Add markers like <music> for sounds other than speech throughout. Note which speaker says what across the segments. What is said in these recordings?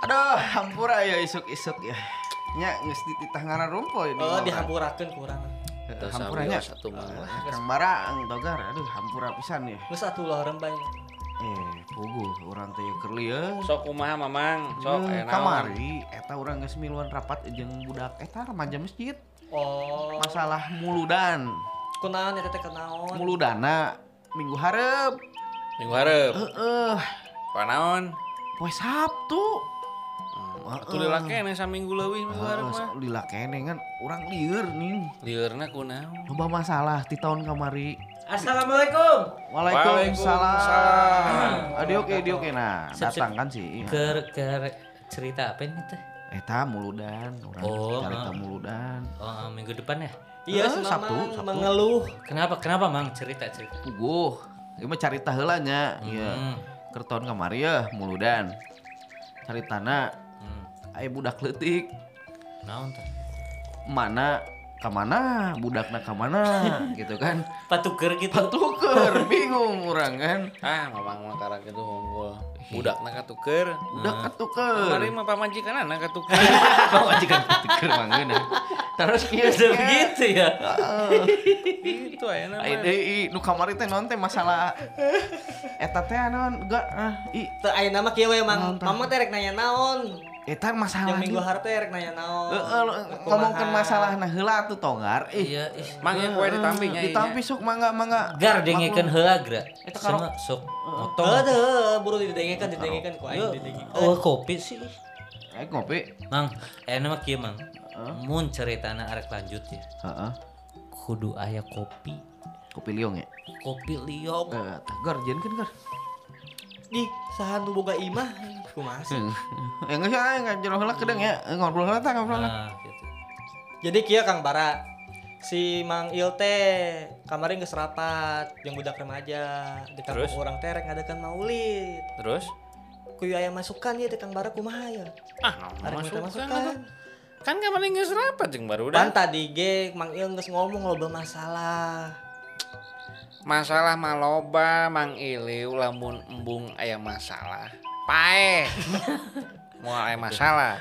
Speaker 1: Aduh, hampura ya isuk-isuk ya. Nya geus di tangan rumpul ini.
Speaker 2: Oh, dihampurakeun kurang.
Speaker 1: Heeh,
Speaker 3: Terus
Speaker 1: hampura
Speaker 3: sambil
Speaker 1: nya.
Speaker 3: satu mangga.
Speaker 1: Eh, Kang Barang togar, aduh hampura pisan ya.
Speaker 2: Lu satu lorem banyak.
Speaker 1: Eh, pugu urang teh keuli ya.
Speaker 3: Sok kumaha Mamang? Sok
Speaker 1: Eh,
Speaker 3: aya naon?
Speaker 1: kamari eta urang geus miluan rapat jeung budak eta remaja masjid.
Speaker 2: Oh,
Speaker 1: Masalah muludan.
Speaker 2: kunaon eta teh kenaon?
Speaker 1: Muludana minggu hareup.
Speaker 3: Minggu hareup.
Speaker 1: Eh. Heeh,
Speaker 3: Panaon?
Speaker 1: poe Sabtu. Ah,
Speaker 3: Atuh lila kene saminggu leuwih minggu hareup
Speaker 1: Heeh,
Speaker 3: mah.
Speaker 1: lila kene kan urang lieur nih.
Speaker 3: Liurna kunaon?
Speaker 1: Loba masalah di tahun kamari.
Speaker 2: Assalamualaikum.
Speaker 1: Waalaikumsalam. Adi oke, adi oke. Nah,
Speaker 4: Sip, sip.
Speaker 1: datang kan sih. Eh,
Speaker 4: Ker ker cerita apa ini teh?
Speaker 1: Eta muludan, orang
Speaker 4: Oh,
Speaker 1: cerita
Speaker 4: ah.
Speaker 1: muludan.
Speaker 4: Oh, minggu depan <laughs> ya.
Speaker 2: Iya,
Speaker 1: Eh,
Speaker 2: si
Speaker 1: Sabtu,
Speaker 2: Mamang
Speaker 1: Sabtu.
Speaker 2: mengeluh.
Speaker 4: Kenapa kenapa Mang cerita cerita?
Speaker 1: Puguh, ieu mah carita heula nya. Iya.
Speaker 4: Hmm.
Speaker 1: Keur tahun kamari ya muludan. Caritana
Speaker 4: Hmm.
Speaker 1: aya budak leutik
Speaker 4: Naon teh?
Speaker 1: mana ka mana budakna ka
Speaker 4: <laughs>
Speaker 1: mana gitu kan.
Speaker 4: Patuker gitu.
Speaker 1: Patuker bingung urang kan.
Speaker 3: Ah, Mamang mah karang kitu unggul. Budakna katuker. Ah,
Speaker 1: Budak
Speaker 4: Hmm. <laughs>
Speaker 3: Kamari
Speaker 1: katuker.
Speaker 3: mah pamajikanana katuker.
Speaker 1: <laughs> Majikan katuker manggeuna. Terus kieu
Speaker 4: Udah begitu ya.
Speaker 3: Itu aya
Speaker 1: Ai
Speaker 3: nama.
Speaker 1: deui nu kamari teh naon teh masalah eta teh naon enggak ah i
Speaker 2: Teu aya nama kieu we
Speaker 1: Naon
Speaker 2: Mang.
Speaker 1: tah?
Speaker 2: Mamang teh rek nanya naon?
Speaker 1: eta
Speaker 2: Yang
Speaker 1: masalah ah,
Speaker 2: minggu
Speaker 1: ieu.
Speaker 2: hareup teh rek nanya naon?
Speaker 1: Heeh, lu ngomongkeun masalah nah heula atuh tonggar ih
Speaker 4: Iya, ih.
Speaker 3: Mang yang kue ditampi nya.
Speaker 1: Ah, ditampi sok mangga mangga
Speaker 4: Gar dengekeun heula gra.
Speaker 1: Eta karo-
Speaker 4: Sama sok
Speaker 2: Heeh,
Speaker 4: motong.
Speaker 2: teu buru didengekeun, didengekeun ku aing
Speaker 4: Yo,
Speaker 2: didengekeun.
Speaker 4: Oh, kopi sih.
Speaker 1: eh ngopi
Speaker 4: Mang, eh nama kieu Mang. Mun ceritana arek lanjut ya.
Speaker 1: heeh
Speaker 4: Kudu aya kopi.
Speaker 1: kopi liong ya
Speaker 4: Kopi liok.
Speaker 1: eh gar kan <laughs> gar
Speaker 2: Di sahan nu boga imah kumaha sih?
Speaker 1: eh geus ah enggak jero heula kedeng ya Eh, ngobrol heula tah ngobrol heula.
Speaker 4: Nah, gitu.
Speaker 2: Jadi kia Kang Bara si Mang Il teh kemarin geus rapat jeung budak remaja di kampung
Speaker 3: Terus?
Speaker 2: orang teh rek ngadakeun maulid.
Speaker 3: Terus?
Speaker 2: Kuyu aya masukan ya di Kang Bara kumaha ya?
Speaker 3: Ah,
Speaker 2: Arek
Speaker 3: masuk
Speaker 2: minta masukan.
Speaker 3: Kan kemarin geus rapat jeung
Speaker 2: Pan
Speaker 3: barudak.
Speaker 2: tadi ge Mang Il geus ngomong loba masalah.
Speaker 3: Masalah maloba Mang Iliu lamun embung aya masalah.
Speaker 1: <laughs>
Speaker 3: Pae. Moal aya masalah.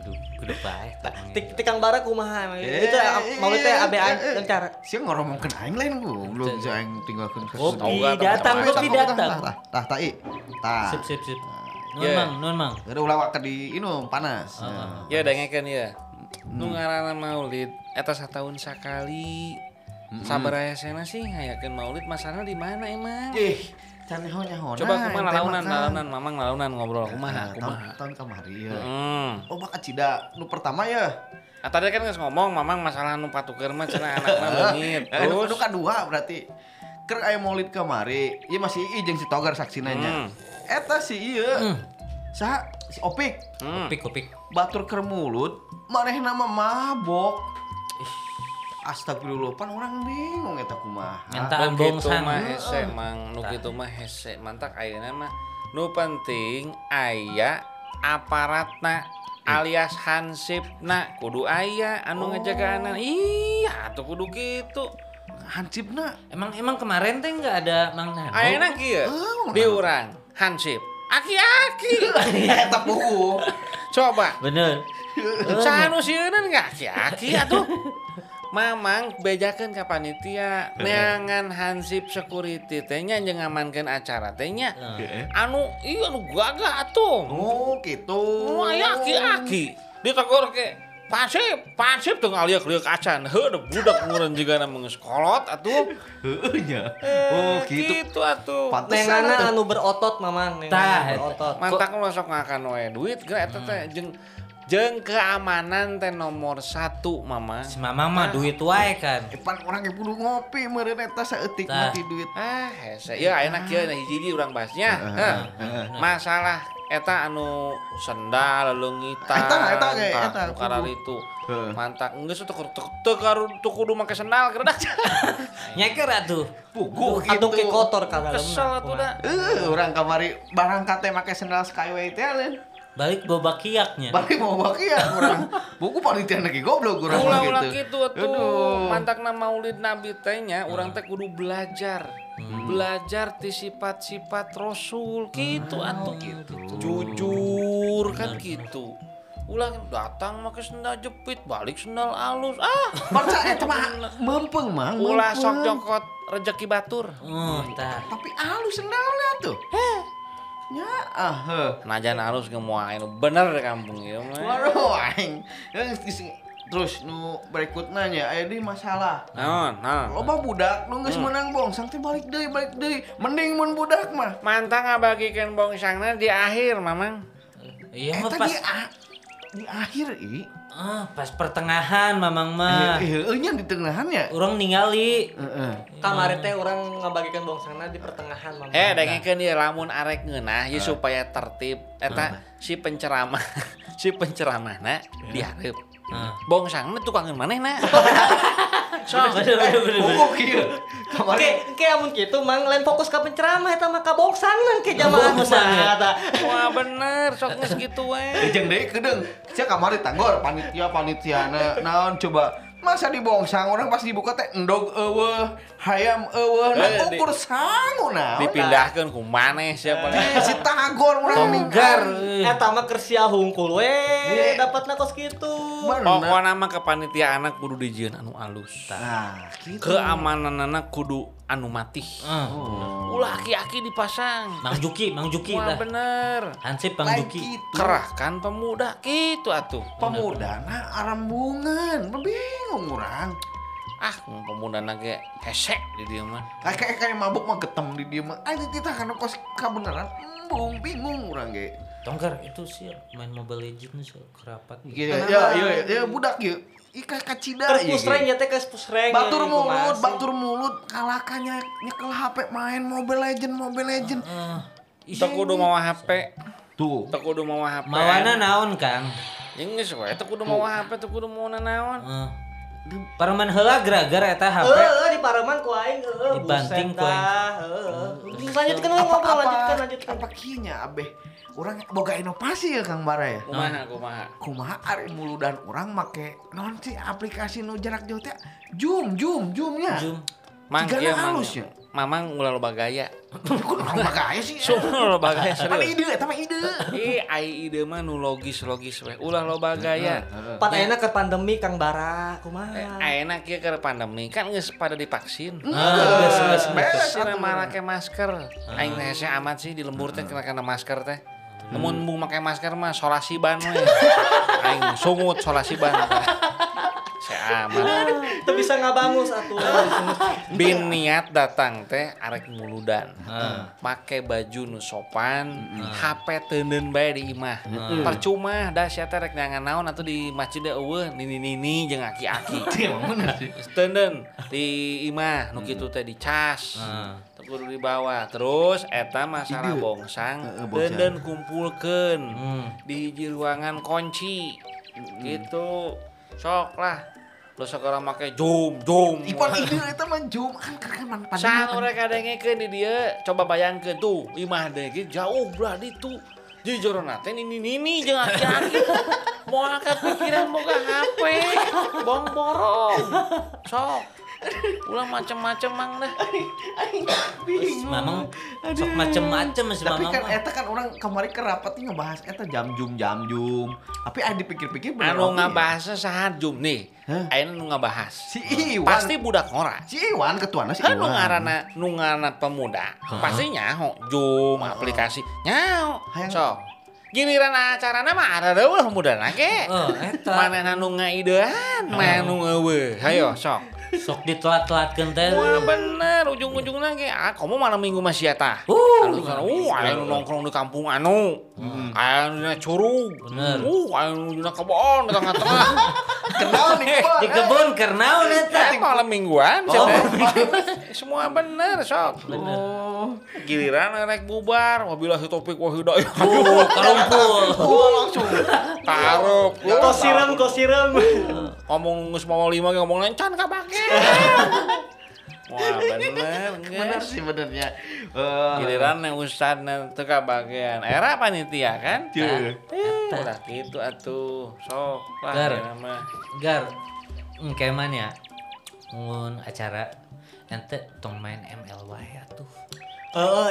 Speaker 4: Kudu kudu ya. bae tah.
Speaker 2: Ti ti Kang Bara kumaha? Mang Il?
Speaker 1: Eh,
Speaker 2: Itu am- maulid teh
Speaker 1: iya,
Speaker 2: abe
Speaker 1: eh, eh.
Speaker 2: encar.
Speaker 1: Sia ngoromongkeun aing lain goblok si aing tinggalkeun ke
Speaker 4: Kopi
Speaker 3: Tahu nggak,
Speaker 4: datang,
Speaker 3: teman-teman?
Speaker 4: kopi datang.
Speaker 1: tah tah tah i tah
Speaker 4: Sip, sip, sip. Nun
Speaker 3: Yeah.
Speaker 4: mang, nun mang.
Speaker 1: Gara ulah ke di inum panas. Nah.
Speaker 3: Ah, Ya dengekeun ya. Nu ngaranna Maulid eta satahun sakali. Sabar aya sena sih ngayakeun Maulid masalahna di mana emang?
Speaker 1: Ih, can nyaho nyaho.
Speaker 3: Coba kumaha lalaunan, lalaunan, mamang lalaunan ngobrol kumaha,
Speaker 1: tahun,
Speaker 3: kumaha.
Speaker 1: tahun kamari ya.
Speaker 3: Heeh.
Speaker 1: Loba ka Cida, nu pertama ya.
Speaker 3: Ah tadi kan geus ngomong mamang masalah nu patukeun mah cenah <laughs> anakna leungit.
Speaker 1: Eh, nu
Speaker 3: Terus
Speaker 1: nu kadua berarti. Keur aya maulid kamari, ieu masih ieu jeung si Togar saksina nya.
Speaker 3: Hmm.
Speaker 1: Eta si ieu.
Speaker 3: Mm.
Speaker 1: Saha si Opik
Speaker 3: Hmm.
Speaker 4: Kopik, kopik.
Speaker 1: batur keur mulut, manehna mah mabok. Astagfirullah, pan orang bingung eta kumaha.
Speaker 4: Nyanta.
Speaker 3: Nu
Speaker 4: Ambong
Speaker 3: kitu
Speaker 4: sang.
Speaker 3: mah hese mang, nu kitu mah hese. Mantak ayeuna mah nu penting aya aparatna alias hansipna kudu aya anu ngajagaana. Iya atuh kudu kitu. <laughs>
Speaker 1: Hancipna
Speaker 4: Emang emang kemarin teh nggak ada Mang Nano?
Speaker 3: Ayeuna kieu
Speaker 1: Oh.
Speaker 3: di urang hansip. Aki-aki.
Speaker 1: eta puguh.
Speaker 3: Coba
Speaker 4: Bener.
Speaker 3: Canu sieunan nggak aki-aki atuh. Mamang bejakeun ka panitia neangan hansip security teh nya jeung ngamankeun acara teh nya.
Speaker 4: Heeh.
Speaker 3: Anu ieu anu gagah atuh.
Speaker 1: Oh, gitu.
Speaker 3: Nu aya aki-aki ditegur ke Pasif, pasif tuh ngaliak liak acan. Heuh, budak ngureun juga namanya sekolot atuh.
Speaker 1: Heehnya.
Speaker 3: Eh,
Speaker 1: Oh gitu.
Speaker 3: Gitu atuh.
Speaker 1: Pantes
Speaker 2: Nengana anu berotot Mamang,
Speaker 4: Tah,
Speaker 2: nengana
Speaker 4: eta.
Speaker 2: anu berotot.
Speaker 3: Mantak lu sok ngakan wae duit geura eta teh jeung jeung keamanan teh nomor satu mama.
Speaker 4: Si Mamang mah duit wae kan.
Speaker 1: Depan orang yang kudu ngopi meureun eta saeutik
Speaker 4: Tah.
Speaker 1: mati duit.
Speaker 3: Ah, hese. Ya, ayeuna kieu na hiji-hiji urang bahasnya. Heh. Masalah eta anu sendal leungitan.
Speaker 1: Eta, eta ge,
Speaker 3: tah,
Speaker 1: eta,
Speaker 3: nu karar
Speaker 1: kudu.
Speaker 3: itu.
Speaker 1: Heeh.
Speaker 3: Mantak geus teu teu teu karu teu kudu make sendal keredak.
Speaker 4: Nyeker atuh.
Speaker 1: Puguh
Speaker 2: Atuh
Speaker 1: Oh,
Speaker 2: ke
Speaker 1: gitu.
Speaker 2: kotor ka dalemna.
Speaker 3: Kesel atuh da.
Speaker 1: Eh, orang kamari barang kate make sandal Skyway teh lain.
Speaker 4: Balik boba kiaknya.
Speaker 1: Bari mau baki ya urang.
Speaker 2: <laughs>
Speaker 1: Buku panitia lagi goblok urang mah
Speaker 3: Ulah-ulah
Speaker 1: gitu.
Speaker 3: kitu
Speaker 1: Aduh.
Speaker 3: atuh. Mantakna Maulid Nabi teh nya urang teh kudu belajar. Hmm. Belajar ti sifat-sifat Rasul kitu atuh. Jujur, lembur kan gitu. Ulah datang pakai sendal jepit, balik sendal alus. Ah,
Speaker 1: Bangsa eta eh, mah mempeng mang.
Speaker 3: ulah sok
Speaker 1: meumpeng.
Speaker 3: cokot rejeki batur.
Speaker 4: Oh, tah.
Speaker 1: Tapi halus sendalnya tuh. Heh. Ya ah. heh.
Speaker 3: Najan alus gemuain bener di kampung ieu mah.
Speaker 1: Waduh aing. Geus- geus- Terus nu berikutnya nya aya deui masalah.
Speaker 3: Naon, naon.
Speaker 1: Loba budak nu geus menang bongsang teh balik deui, balik deui. Mending mun budak mah.
Speaker 3: Mantang ngabagikeun bongsangna di akhir, Mamang.
Speaker 4: Iya mah
Speaker 1: Eta
Speaker 4: pas
Speaker 1: Eh, di, a- di akhir i. Iya,
Speaker 4: ah, pas pertengahan mamang mah.
Speaker 1: Heeh, nya di tengahan ya.
Speaker 4: Urang ningali.
Speaker 1: Heeh.
Speaker 4: Iya.
Speaker 2: Kamari teh orang ngabagikan bongsangna di pertengahan mamang.
Speaker 3: Eh, dengekeun ieu lamun arek ngeunah ieu supaya tertib eta si penceramah <laughs> si penceramahna dihareup.
Speaker 4: Heeh.
Speaker 3: Bongsangna tukangin manehna.
Speaker 4: Sok, bener bener bener, bener.
Speaker 1: Oh, iya. Kamari
Speaker 2: Oke, oke amun kitu mang lain fokus ke penceramah eta mah ka bongsangna ke jamaah
Speaker 4: Bongsang, ya.
Speaker 2: kumaha tah.
Speaker 3: <laughs> Wah, bener, sok geus gitu Ya kitu we.
Speaker 1: Ejeng deui kedeng. Sia kamari tanggor panitia panitiana naon coba. Masa dibongsang orang pas dibuka teh endog eueuh, hayam eueuh, nah
Speaker 3: Eh, di-
Speaker 1: ukur sangu naon.
Speaker 3: Dipindahkeun ku maneh siapa
Speaker 1: Eh, Si tagor urang
Speaker 4: Tonggar.
Speaker 2: Eta mah keur sia hungkul we,
Speaker 1: Ye.
Speaker 2: dapatna kos kitu.
Speaker 3: Oh, Pokoknya mah kepanitiaan anak kudu dijieun anu alus.
Speaker 1: Nah, gitu.
Speaker 3: Keamanan anak kudu anu matih. Nah,
Speaker 4: Eh,
Speaker 1: Oh.
Speaker 3: Ulah aki-aki dipasang.
Speaker 4: Mang Juki, Mang Juki
Speaker 3: Wah,
Speaker 4: tah.
Speaker 3: bener.
Speaker 4: Hansip Mang
Speaker 1: Lain
Speaker 4: Juki.
Speaker 1: gitu.
Speaker 3: Kerahkan pemuda gitu atuh.
Speaker 1: Pemudana arambungan, bingung urang.
Speaker 3: Ah, pemuda nage hesek di dieu mah.
Speaker 1: Kayak kayak mabuk mah getem di dieu mah. Ayo kita kan kos kabeneran. Embung bingung urang ge.
Speaker 4: Tonggar itu sih ya, main Mobile Legends sih kerapat.
Speaker 2: Iya,
Speaker 1: Ya ya ya budak ieu. Ika kacida
Speaker 2: Terus
Speaker 1: ieu, ge.
Speaker 2: pusreng ya teh kes pusreng.
Speaker 1: iya? Batur
Speaker 2: ya, ieu
Speaker 1: mulut,
Speaker 2: masih.
Speaker 1: batur mulut, kalakannya nyekel HP main Mobile Legend, Mobile Legend.
Speaker 2: Hmm.
Speaker 4: Heeh.
Speaker 3: Teu kudu mawa HP,
Speaker 1: Tuh.
Speaker 3: teu kudu mawa HP. Iya.
Speaker 4: Mawana naon, Kang?
Speaker 3: Jeung geus we teu kudu mawa HP, teu kudu mawa naon.
Speaker 4: Heeh. Paraman Ah. heula gara-gara eta HP.
Speaker 2: Heeh, Eh, di pareman ku aing heeh.
Speaker 4: Dibanting
Speaker 2: buset
Speaker 4: ku aing.
Speaker 2: dah, Heeh. Lanjutkan
Speaker 1: Apa
Speaker 2: lagi ngobrol,
Speaker 1: apa
Speaker 2: Oh, lanjutkan, lanjutkan.
Speaker 1: apa kinya abeh? Orang boga inovasi ya Kang Bara ya.
Speaker 3: Kumaha kumaha?
Speaker 1: Kumaha ari muludan orang make non sih aplikasi nu jarak jauh teh Zoom, Zoom, Zoomnya.
Speaker 4: Zoom.
Speaker 3: Mang
Speaker 1: Tigana
Speaker 3: ieu mang.
Speaker 1: halus ya.
Speaker 3: Mamang ulah loba gaya.
Speaker 1: Kok orang makanya sih?
Speaker 3: Sungguh
Speaker 1: <laughs>
Speaker 3: loba gaya
Speaker 1: Ada
Speaker 3: serius.
Speaker 1: ide, eta mah ide.
Speaker 3: Ih, ai ide mah nu logis-logis we. Ulah loba gaya.
Speaker 2: Pat ayeuna ke pandemi Kang Bara, kumaha?
Speaker 3: Ya. Eh, enak ya karena pandemi kan nggak pada divaksin.
Speaker 4: Nah, geus geus geus.
Speaker 3: Beres sih malah pakai masker. Aing teh hese amat sih di lembur teh kena kena masker teh. Namun mau pakai masker mah solasi ban we. <laughs> Aing sungut solasi ban. Se amat.
Speaker 2: Teu bisa ngabangus atuh.
Speaker 3: Bin niat datang teh arek muludan.
Speaker 4: Heeh.
Speaker 3: Pakai baju nu sopan, HP teuneun bae di imah. Percuma dah sia teh rek nyangan naon atuh di masjid deh eueuh nini-nini jeung aki-aki.
Speaker 1: Iya, Emang bener sih.
Speaker 3: Stenden di imah nu kitu teh dicas.
Speaker 4: Heeh.
Speaker 3: Teu kudu di bawah. Terus eta
Speaker 1: Ide. Heeh,
Speaker 3: masalah bongsang
Speaker 1: bongsang.
Speaker 3: denden kumpulkeun
Speaker 4: Hmm.
Speaker 3: di hiji ruangan kunci. Gitu. Sok lah. Lu sekarang make zoom zoom.
Speaker 1: Ipan ide eta mah Zoom kan keren man
Speaker 3: Sang urek kadengkeun di dieu, coba bayangkeun tuh imah deui ge jauh belah di tuh. Di jorona teh nini nini jeung aki-aki. Moal kepikiran boga HP, bong borong. Sok. Ulah macem-macem mang dah.
Speaker 4: Terus Mamang sok macem-macem si
Speaker 1: Tapi
Speaker 4: Mamang.
Speaker 1: kan
Speaker 4: mah.
Speaker 1: eta kan orang kemarin ke rapat nih ngebahas eta jam jum jam jum. Tapi ada dipikir-pikir bener oge
Speaker 3: Anu
Speaker 1: ya.
Speaker 3: ngabahasna saha jum nih.
Speaker 1: Hah?
Speaker 3: Ayeuna nu ngabahas.
Speaker 1: Si Iwan.
Speaker 3: Pasti budak ngoras.
Speaker 1: si Iwan ketuana si
Speaker 3: Kan nu
Speaker 1: Iwan.
Speaker 3: ngaranna nu ngaranna pemuda, pasti nyaho jum aplikasi. Nyaho.
Speaker 1: Hayang.
Speaker 3: Sok. Giliran acarana mah ada deulah mudana ge.
Speaker 4: Eh, eta.
Speaker 3: Mana nanu ngaidean, mana nu ngeuwe. Hayo
Speaker 4: Hmm.
Speaker 3: sok.
Speaker 4: Sok ditelat-telatkeun teh.
Speaker 3: Wah bener, ujung-ujungnya ge ah kamu malam minggu masih eta.
Speaker 4: Uh. Hmm.
Speaker 3: Anu sana, uh, aya nu nongkrong di kampung anu. Aya nu dina curug.
Speaker 4: Bener.
Speaker 3: Uh, aya nu dina kebon di tengah-tengah.
Speaker 4: <laughs>
Speaker 1: Kenal nih Iwan.
Speaker 4: Di kebun karena eta.
Speaker 3: Eh, malam mingguan
Speaker 4: <laughs> Oh.
Speaker 3: siapa? Eh, Semua bener sok. Oh. Giliran rek bubar, wabillahi taufik wa hidayah.
Speaker 4: Uh, kerumpul.
Speaker 1: Gua Oh, langsung.
Speaker 3: Tarup.
Speaker 2: Kosirem, kosirem.
Speaker 3: ngomong geus mau lima ge ngomong lencan kabake. <laughs> Wah bener
Speaker 1: <laughs> Bener
Speaker 3: geus.
Speaker 1: sih benernya. Eh,
Speaker 3: Giliran yang ustad teu kabagean. Era panitia kan?
Speaker 1: Iya.
Speaker 3: Tah, Udah gitu atuh. Sok lah
Speaker 4: Gar.
Speaker 3: ya mah.
Speaker 4: Gar. Engke man ya. Ngun acara ente tong main ML wae atuh.
Speaker 2: Eh, iya, Heeh,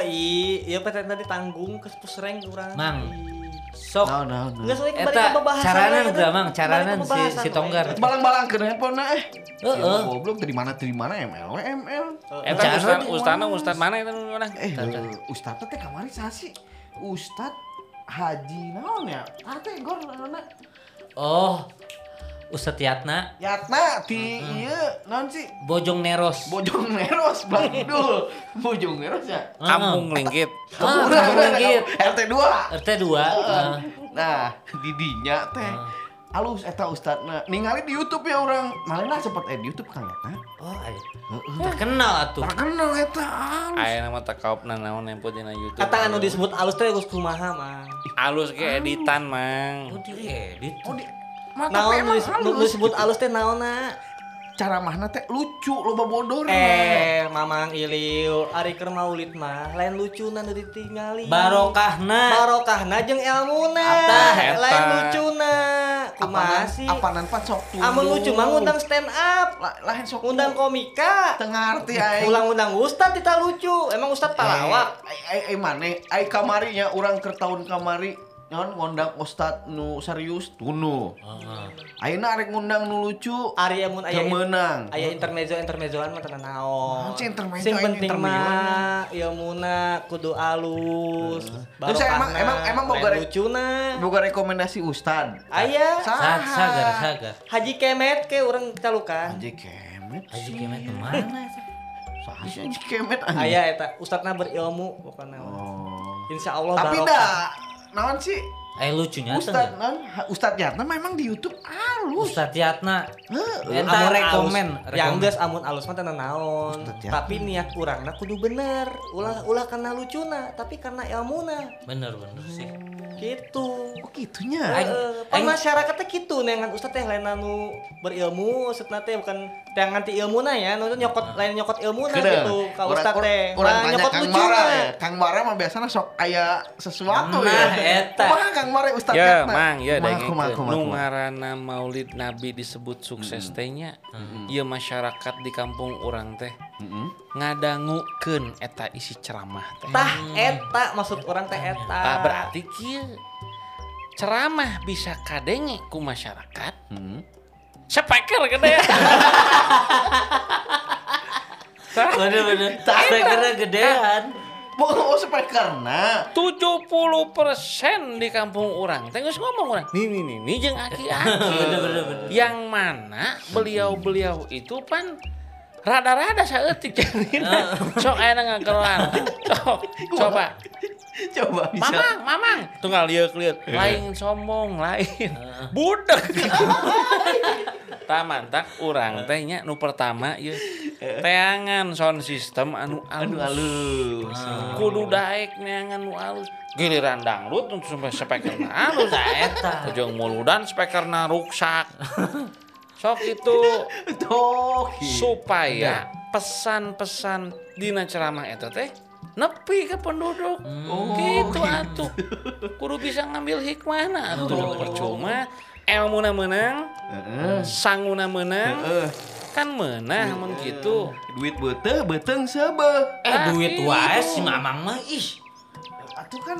Speaker 2: i, ieu peten tadi tanggung ke pusreng urang.
Speaker 4: Mang.
Speaker 2: Ih.
Speaker 4: sok
Speaker 1: Nah, nah, nah.
Speaker 2: Nggak soalnya kembali
Speaker 4: Eta,
Speaker 2: ke pembahasan.
Speaker 4: caranan
Speaker 2: we, eta.
Speaker 4: udah, Mang.
Speaker 2: Kembali ke
Speaker 4: Caranan si-
Speaker 2: pembahasan,
Speaker 4: si
Speaker 2: we.
Speaker 4: Tonggar.
Speaker 1: Balang-balang ke handphone nah, eh.
Speaker 4: Heeh.
Speaker 1: Ya, goblok dari mana dari mana ML ML.
Speaker 3: Eh,
Speaker 1: Kan
Speaker 4: Jangan
Speaker 3: ustad,
Speaker 4: di-
Speaker 3: ustad, ustad mana itu orang?
Speaker 1: Eh, Ustadz teh kamari saha sih? Ustadz Haji naon ya? Tarte gor nana
Speaker 4: oh Ustadz Yatna
Speaker 1: Yatna ti ieu naon sih?
Speaker 4: Bojong Neros
Speaker 1: Bojong Neros Bang Dul. Bojong Neros ya.
Speaker 4: Heeh.
Speaker 3: Kampung linggit.
Speaker 4: Ah, kampung Linggit.
Speaker 1: RT 2.
Speaker 4: RT 2
Speaker 1: Oh,
Speaker 2: Ah.
Speaker 4: heeh.
Speaker 1: Nah, didinya teh alus eta ustadna ningali di YouTube ya orang malena sempet eh di YouTube kan Yatna
Speaker 4: oh ayo. terkenal atuh
Speaker 1: terkenal eta eh, alus
Speaker 3: Ayo nama tekaop nanaon yang putih na YouTube.
Speaker 2: Kata anu disebut alus teh geus kumaha mang.
Speaker 3: Alus ke editan
Speaker 4: oh
Speaker 3: mang.
Speaker 4: diedit
Speaker 1: oh di mata
Speaker 2: Naon
Speaker 1: emang
Speaker 2: nu dis- nu disebut alus teh naonna?
Speaker 1: cara mahna teh lucu loba bodor
Speaker 2: Eh, Mamang Iliu, ari keur maulid mah lain lucuna nu ditingali.
Speaker 4: Barokahna
Speaker 2: Barokahna jeung elmuna.
Speaker 4: Atah,
Speaker 3: eta.
Speaker 2: Lain lucuna. Kumaha
Speaker 1: Apaan-
Speaker 2: sih?
Speaker 1: apaanan pan sok tuh
Speaker 2: Amun Ah, lucu mah ngundang stand up,
Speaker 1: lain sok
Speaker 2: ngundang komika.
Speaker 1: tengah arti aing
Speaker 2: Ulang-undang Ustad kita lucu. Emang Ustad palawak.
Speaker 1: Ai- ai ai mane ai kamari nya urang keur taun kamari naon ngundang ustad nu serius tunu
Speaker 4: Heeh.
Speaker 1: ayeuna arek ngundang nu lucu
Speaker 4: Eh.
Speaker 2: Ari mun aya
Speaker 1: teu meunang
Speaker 2: aya intermezzo intermezzoan mah tenan naon.
Speaker 1: Naon sih intermezzo,
Speaker 2: Sing
Speaker 1: aya
Speaker 2: penting
Speaker 1: intermezzoan ya?
Speaker 2: mah ilmuna kudu alus.
Speaker 1: Terus saya emang- emang- emang boga re-
Speaker 2: lucuna.
Speaker 1: boga rekomendasi ustad
Speaker 2: Aya
Speaker 1: Saha.
Speaker 4: Sa- sagar sagar
Speaker 2: Haji Kemet ke urang calukan.
Speaker 1: Haji kemet
Speaker 4: Haji Kemet kemana ya,
Speaker 1: saha sih Haji kemet anjing?
Speaker 2: Aya eta ustadna berilmu pokona.
Speaker 1: Oh.
Speaker 2: Insya Allah
Speaker 1: tapi
Speaker 2: barokah.
Speaker 1: dah naon sih
Speaker 4: ayo lucunya
Speaker 1: ustad
Speaker 4: Ustadz
Speaker 1: naon ustad Yatna memang di YouTube alus
Speaker 4: Ustadz Yatna
Speaker 1: Heeh.
Speaker 4: Eta
Speaker 2: Amun
Speaker 4: rekomen, ya.
Speaker 2: alus. Yang
Speaker 4: rekomen.
Speaker 2: geus amun alus mah tenan naon.
Speaker 1: Ustad Yatna.
Speaker 2: Tapi niat urangna kudu bener. Ulah ulah karena lucuna, tapi karena ilmuna.
Speaker 4: bener bener sih
Speaker 2: Gitu.
Speaker 1: oh gitunya
Speaker 4: Aing-
Speaker 2: Heeh, pan
Speaker 4: aing-
Speaker 2: masyarakatnya Eh, gitu nengan ustad teh lain anu berilmu maksudna teh bukan teh nganti ilmu na ya nu nyokot lain nyokot ilmu na
Speaker 1: Kedeng.
Speaker 2: gitu ka
Speaker 1: Orang-
Speaker 2: ustad teh
Speaker 1: orang
Speaker 2: Nah,
Speaker 1: tanya
Speaker 2: nyokot
Speaker 1: Kang
Speaker 2: lucu
Speaker 1: Mara
Speaker 2: na.
Speaker 1: ya. Kang Mara mah biasanya sok aya sesuatu ya.
Speaker 4: Nah, eta.
Speaker 1: Kumaha Kang Mara Ustaz
Speaker 3: Ya,
Speaker 1: Yatna?
Speaker 3: mang, ya
Speaker 1: Kumaha,
Speaker 3: deng.
Speaker 1: kumaha, kumaha,
Speaker 3: Nu
Speaker 1: kumaha.
Speaker 3: ngaranna Maulid Nabi disebut sukses teh nya. Ieu masyarakat di kampung orang teh
Speaker 1: Mm-mm.
Speaker 3: ngadangukeun eta isi ceramah teh.
Speaker 2: tah eta maksud orang teh eta
Speaker 1: Ah,
Speaker 3: Tah berarti kieu ceramah bisa kadenge ku masyarakat.
Speaker 1: Mm.
Speaker 3: Sepeker gede. Tah.
Speaker 4: bener bener sagarnya
Speaker 2: Ya kan?
Speaker 4: gedean
Speaker 1: Oh, oh supaya karena
Speaker 3: 70% di kampung orang teh geus ngomong orang nih nih nih nih jeung <laughs> aki-aki yang mana beliau-beliau itu pan rada-rada saeutik <laughs> jadina sok aya ngagelan coba
Speaker 1: coba bisa.
Speaker 3: mamang mamang tunggal lieu lieu lain sombong lain <laughs> budak taman tak urang teh nya nu pertama ieu teangan sound system anu
Speaker 1: Aduh
Speaker 3: alus
Speaker 1: halus.
Speaker 3: Ah. kudu daek neangan nu alus giliran dangdut nu sampai speakerna alus
Speaker 4: Nah, eta
Speaker 3: ujung muludan speakerna ruksak sok itu
Speaker 1: Tuh. gitu.
Speaker 3: supaya pesan-pesan dina ceramah eta teh nepi ke penduduk
Speaker 1: Oh,
Speaker 3: gitu atuh kudu bisa ngambil hikmahna atuh percuma elmuna menang
Speaker 1: Heeh.
Speaker 3: sanguna menang
Speaker 1: Heeh. Iya.
Speaker 3: kan menang mun gitu
Speaker 1: Duit bete, beteng sebe.
Speaker 4: eh duit
Speaker 3: Ah,
Speaker 4: wae
Speaker 3: gitu.
Speaker 4: si mamang mah ih
Speaker 1: Atuh kan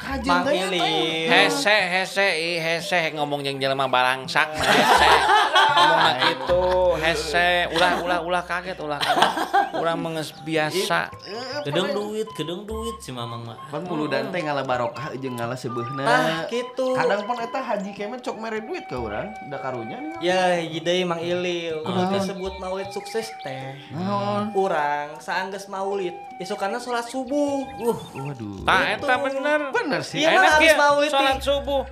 Speaker 1: kajen
Speaker 2: Mang
Speaker 1: teh eta.
Speaker 2: Ili.
Speaker 3: hese hese i hese ngomong yang jelema barangsak mah hese ngomong
Speaker 1: Iya.
Speaker 3: na gitu hese ulah ulah ulah kaget ulah kaget ulah menges biasa
Speaker 1: Eh,
Speaker 4: gedeng
Speaker 1: pokoknya-
Speaker 4: duit gedeng duit si mamang mah
Speaker 1: Pan mulu dan teh ngalah barokah jeung ngalah sebeuna.
Speaker 2: Tah, gitu. kitu.
Speaker 1: Kadang pun eta Haji Kemet cok mere duit ka urang, da karunya nih.
Speaker 2: ya hiji deui mang ilil
Speaker 1: Kunaon?
Speaker 2: disebut maulid sukses teh
Speaker 1: Ah. Naon?
Speaker 2: urang saanggeus maulid isokanna sholat subuh uh
Speaker 1: Waduh.
Speaker 3: tak eta bener
Speaker 1: Bener sih.
Speaker 2: Iya,
Speaker 3: enak
Speaker 2: mah,
Speaker 3: ya
Speaker 2: habis maulid
Speaker 3: sholat
Speaker 2: nih.
Speaker 3: subuh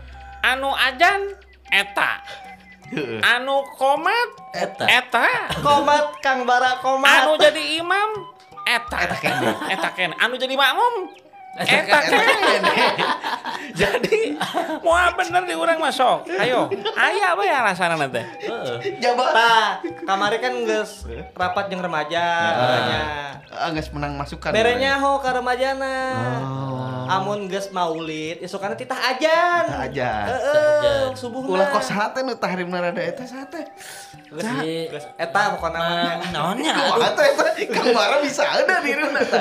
Speaker 3: anu ajan eta anu komat
Speaker 4: Eta.
Speaker 3: eta
Speaker 2: komat Kang Bara komat
Speaker 3: anu jadi imam eta eta kene eta kene anu jadi makmum eta kene jadi mau bener di urang masuk ayo aya apa ya alasan nanti
Speaker 4: heeh
Speaker 1: Jabatan.
Speaker 2: Tah, kamari kan geus rapat jeung remaja
Speaker 1: Ya.
Speaker 2: katanya.
Speaker 1: Ah, geus menang masukan.
Speaker 2: Berenya ho ka remajana.
Speaker 1: Oh.
Speaker 2: Amun geus maulid, isukana titah ajan.
Speaker 1: Tah ajan.
Speaker 2: Heeh,
Speaker 4: Tah ajan.
Speaker 2: subuh.
Speaker 1: Ulah kos hate nu tahrim rada eta sate.
Speaker 4: si
Speaker 2: Eta pokona mah.
Speaker 4: Ma- naonnya aduh.
Speaker 1: Kumaha teh eta? Kang Bara bisa ada di rumah eta.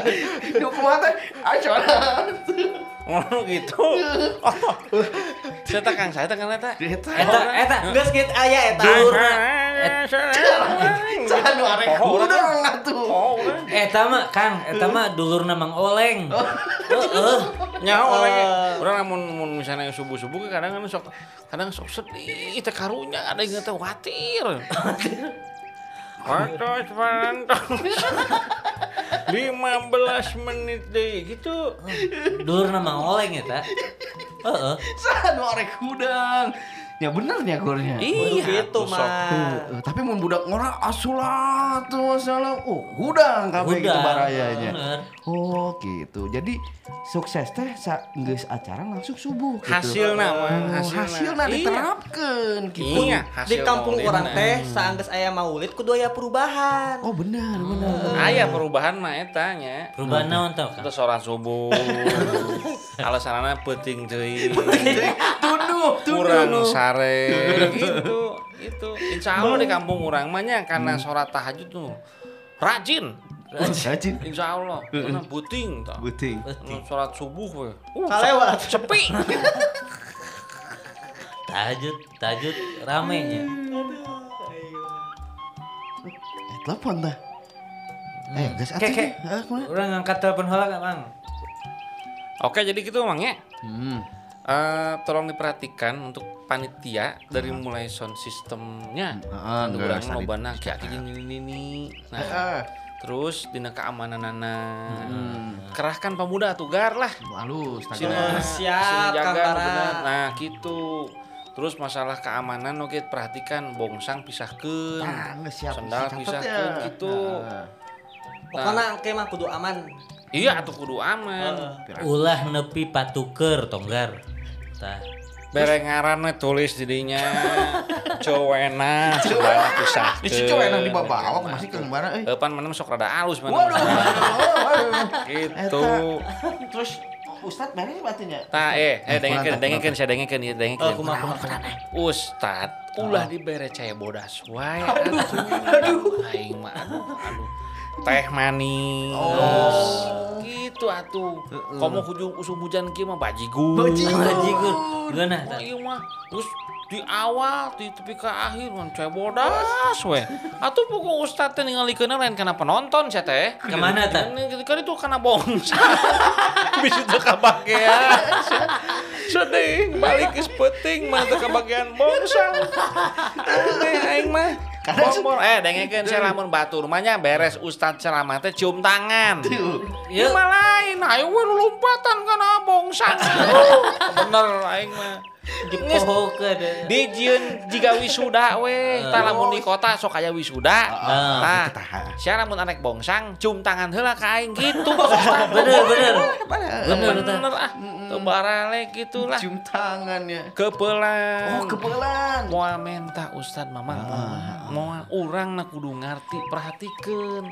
Speaker 1: Nu kumaha teh? Acoran.
Speaker 3: Oh, ngono gitu. Saya kang saya kan eta.
Speaker 1: Eta.
Speaker 4: Eta, eta, geus kitu aya eta ulurna.
Speaker 1: Sahan nu arek budeng atuh.
Speaker 4: Eta mah Kang, eta
Speaker 3: Hmm.
Speaker 4: mah dulurna Mang Oleng.
Speaker 3: Oh.
Speaker 4: Heeh.
Speaker 3: Nyaho orang orang namun mun misalnya subuh subuh kadang kan sok kadang sok sedih teh karunya ada yang teh <laughs> khawatir. Patos pantos. <laughs> 15 menit deh gitu.
Speaker 4: Dulurna Mang Oleng eta. Heeh.
Speaker 1: Sahan nu arek budeng. Ya bener nya gornya.
Speaker 3: Iya,
Speaker 2: gitu
Speaker 3: tuh, sok.
Speaker 2: mah.
Speaker 1: Eh, tapi mun budak ngora asulah tuh masalah. Oh, gudang kabeh gitu
Speaker 4: Gudang,
Speaker 1: barayanya.
Speaker 4: bener.
Speaker 1: Oh, gitu. Jadi sukses teh sa geus acara langsung subuh gitu.
Speaker 3: Hasilna mah, hasilna.
Speaker 1: hasilna
Speaker 3: Iya.
Speaker 1: diterapkan gitu.
Speaker 3: Iya,
Speaker 2: di kampung
Speaker 3: maulidna.
Speaker 2: orang teh saanggeus aya maulid kudu aya perubahan.
Speaker 1: Oh, benar, benar.
Speaker 3: Aya Ah, iya, perubahan mah eta nya.
Speaker 4: Perubahan naon tau Kang?
Speaker 3: Terus sholat subuh. <laughs> Alasanana <laughs> penting deui. Eh,
Speaker 1: Tunduh,
Speaker 3: Kurang sare gitu. Itu insya Allah di kampung orang mah nya karena sholat tahajud tuh rajin.
Speaker 1: Oh, Rajin.
Speaker 3: Insya Allah, karena buting tah.
Speaker 1: Buting.
Speaker 3: Karena Sholat subuh we. Uh,
Speaker 2: Kalewat.
Speaker 3: sepi. <laughs>
Speaker 4: Tahajud, tahajud rame nya.
Speaker 3: Hmm.
Speaker 1: Eh, telepon dah. Eh, gas atuh.
Speaker 4: Keke.
Speaker 1: Heeh, kumaha?
Speaker 4: Urang ngangkat telepon heula Kang. Mang.
Speaker 3: Oke, jadi gitu Mang ya.
Speaker 1: Hmm.
Speaker 3: Eh, tolong diperhatikan untuk panitia dari mulai sound systemnya.
Speaker 1: Heeh,
Speaker 3: Untuk
Speaker 1: nggak
Speaker 3: orang
Speaker 1: usah di-
Speaker 3: lobana kayak gini ini ini. Nah,
Speaker 1: Heeh.
Speaker 3: terus dina keamananana. Kerahkan pemuda tugar lah.
Speaker 1: Halus, tanggal.
Speaker 2: siap,
Speaker 3: Sina, sina
Speaker 2: Kang
Speaker 3: jaga,
Speaker 2: Bara.
Speaker 3: bener. Nah, gitu. Terus masalah keamanan oke perhatikan bongsang pisahkeun.
Speaker 1: Ah, nggak siap.
Speaker 3: Sendal
Speaker 1: Catet
Speaker 3: pisahkeun
Speaker 1: ya.
Speaker 3: gitu.
Speaker 1: Heeh.
Speaker 2: Pokona engke mah kudu aman.
Speaker 3: Iya atuh kudu aman.
Speaker 4: Ulah nepi patuker tonggar. Tah.
Speaker 3: Bareng ngaranna tulis dirinya
Speaker 1: <laughs>
Speaker 3: Cowena sebelah pisahkeun.
Speaker 1: Ih, si cowok enak dibawa masih ke mana? Eh,
Speaker 3: Eh, pan menem sok rada alus mana.
Speaker 1: waduh, waduh.
Speaker 3: Gitu.
Speaker 1: Terus Ustadz beres batunya.
Speaker 3: Nah, eh,
Speaker 1: Eh,
Speaker 3: eh, dengekeun,
Speaker 1: kurang,
Speaker 3: dengekeun, saya dengekeun, ya,
Speaker 2: Eh
Speaker 3: dengekeun.
Speaker 2: kumaha kumaha kumaha.
Speaker 3: Ustad, ulah dibere caya bodas wae. Aduh, Aing mah aduh, aduh. Teh manis.
Speaker 1: Oh.
Speaker 3: Gitu atuh. Komo hujung usum hujan kieu mah bajigur.
Speaker 4: Bajigur. Gimana?
Speaker 3: Wah,
Speaker 4: Tah?
Speaker 3: Ieu mah Oh, terus di awal di tepi ke akhir mah caya bodas we. <laughs> Atuh pokok ustad teh ningalikeunna lain kana penonton sia teh.
Speaker 4: Kemana tah?
Speaker 3: Kan itu kana bongsa. <laughs> Bisa teu kabagean. Sedih, balik is penting mah teu kabagean bongsa. Aneh aing mah. Kompor eh dengekeun saya lamun batu rumahnya beres ustad ceramah teh cium tangan.
Speaker 4: Yuk.
Speaker 3: Ieu mah lain, ayo we nu lompatan ah, kana bongsa. <laughs> Bener aing mah. Geus
Speaker 4: Dipohokeun.
Speaker 3: di jieun jika wisuda we, tah lamun di kota sok aya wisuda. Tah,
Speaker 4: Ah,
Speaker 1: ketaha.
Speaker 3: sia lamun anek bongsang cium tangan heula ka aing gitu.
Speaker 4: Bener, bener.
Speaker 3: <laughs> Bener bener ah. Teu barale gitu lah.
Speaker 1: Cium tangannya.
Speaker 3: Kepelan. Ah,
Speaker 1: Oh, kepelan.
Speaker 3: Moal menta Ustad Mamang Moal urang na kudu ngarti perhatikeun.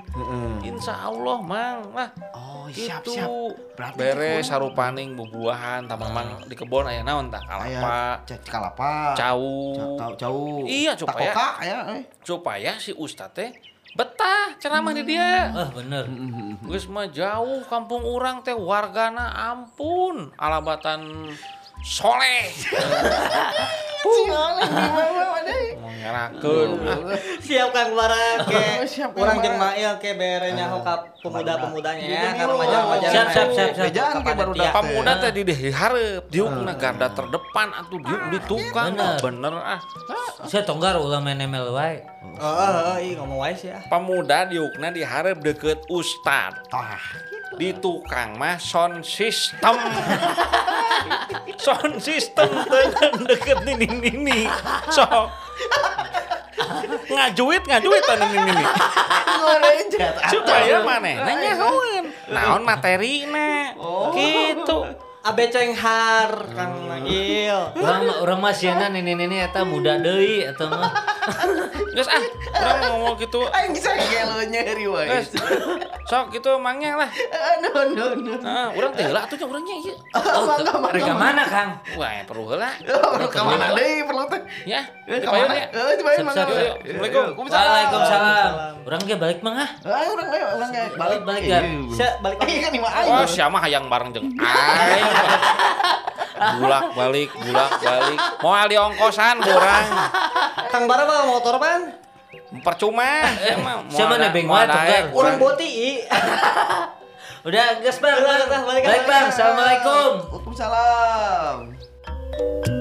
Speaker 3: Insya Allah Mang lah.
Speaker 1: Oh,
Speaker 3: Gitu.
Speaker 1: siap, siap. Berarti
Speaker 3: Beres sarupaning bubuahan tah Mamang di kebon aya naon tah
Speaker 1: Ayah,
Speaker 3: kalapa,
Speaker 1: cek kalapa.
Speaker 3: cau.
Speaker 1: Cau- Cau.
Speaker 3: Iya, coba ya.
Speaker 1: Takokak, ya. eh.
Speaker 3: Supaya si Ustad teh betah ceramah di dia.
Speaker 4: Ah, bener.
Speaker 1: Hmm.
Speaker 3: Geus mah jauh kampung urang teh wargana ampun alabatan
Speaker 1: <laughs>
Speaker 3: soleh.
Speaker 1: eh,
Speaker 3: Ngerakeun. Ah,
Speaker 2: Siap Kang Bara
Speaker 1: <laughs> Oh,
Speaker 2: ke
Speaker 1: siap, Kang
Speaker 2: urang jeung
Speaker 1: Bara.
Speaker 2: Mail ke berenya hoka pemuda-pemudanya ya,
Speaker 1: Iya,
Speaker 2: ka remaja-remaja.
Speaker 4: Ah. Siap, siap, siap, siap.
Speaker 1: Bejaan ke baru
Speaker 2: Iya.
Speaker 1: datang.
Speaker 3: Pemuda teh di diharap, diuk na garda terdepan atau diuk di tukang.
Speaker 4: Bener.
Speaker 3: Bener ah.
Speaker 4: Saya tonggar ulah main ML wae.
Speaker 2: Heeh, heeh, ih ngomong wae sih ah.
Speaker 3: Pemuda diukna diharap deket ustad.
Speaker 1: Tah.
Speaker 3: Di tukang mah sound system. sound system dengan deket nini nini. Sok. ngajuit ngajuit tanah nini nini.
Speaker 1: Ngorejat.
Speaker 3: Supaya mana? Nanya kawan. Naon materi na.
Speaker 2: Oh.
Speaker 3: Gitu.
Speaker 2: Abeceng har Kang Magil.
Speaker 4: Urang mah urang mah sieuna nenek-nenek eta muda deui eta <laughs> mah.
Speaker 3: Guys ah, orang ngomong gitu.
Speaker 1: Aing sagel nyeri wae.
Speaker 3: Guys, sok gitu emangnya lah.
Speaker 1: No no no.
Speaker 3: Nah, orang teh heula atuh nya urangnya ieu.
Speaker 1: Mangga
Speaker 4: Bari ka
Speaker 1: mangga.
Speaker 4: mana, Kang?
Speaker 3: Wah, ya perlu heula.
Speaker 1: Perlu ke mana deui perlu teh.
Speaker 3: Ya,
Speaker 1: Eh, ke
Speaker 3: dipayon
Speaker 1: mana?
Speaker 3: ya.
Speaker 1: Eh, dipayon
Speaker 4: Siap,
Speaker 1: mangga.
Speaker 4: siap, siap.
Speaker 3: Assalamualaikum.
Speaker 4: Waalaikumsalam. Urang ge balik mah ah.
Speaker 1: Ah, urang bae, urang bae.
Speaker 4: Balik, balik, Gar.
Speaker 1: Iya, Bu.
Speaker 2: Sia balik
Speaker 1: Iya
Speaker 2: lagi.
Speaker 1: kan lima aing.
Speaker 3: Wah, siapa hayang bareng jeung aing.
Speaker 4: <laughs>
Speaker 3: bulak balik bulak balik mau ali ongkosan kurang
Speaker 2: Kang Bara mah motor pan?
Speaker 3: percuma Emang mau
Speaker 4: Siapa
Speaker 3: ada-
Speaker 4: nebeng
Speaker 3: mau
Speaker 4: wae,
Speaker 3: ada aek.
Speaker 4: Tonggang?
Speaker 2: Orang boti i.
Speaker 4: Udah, gas bang.
Speaker 2: Udah,
Speaker 4: Bang,
Speaker 2: udah, balik, balik.
Speaker 4: Baik bang, assalamualaikum.
Speaker 1: Waalaikumsalam.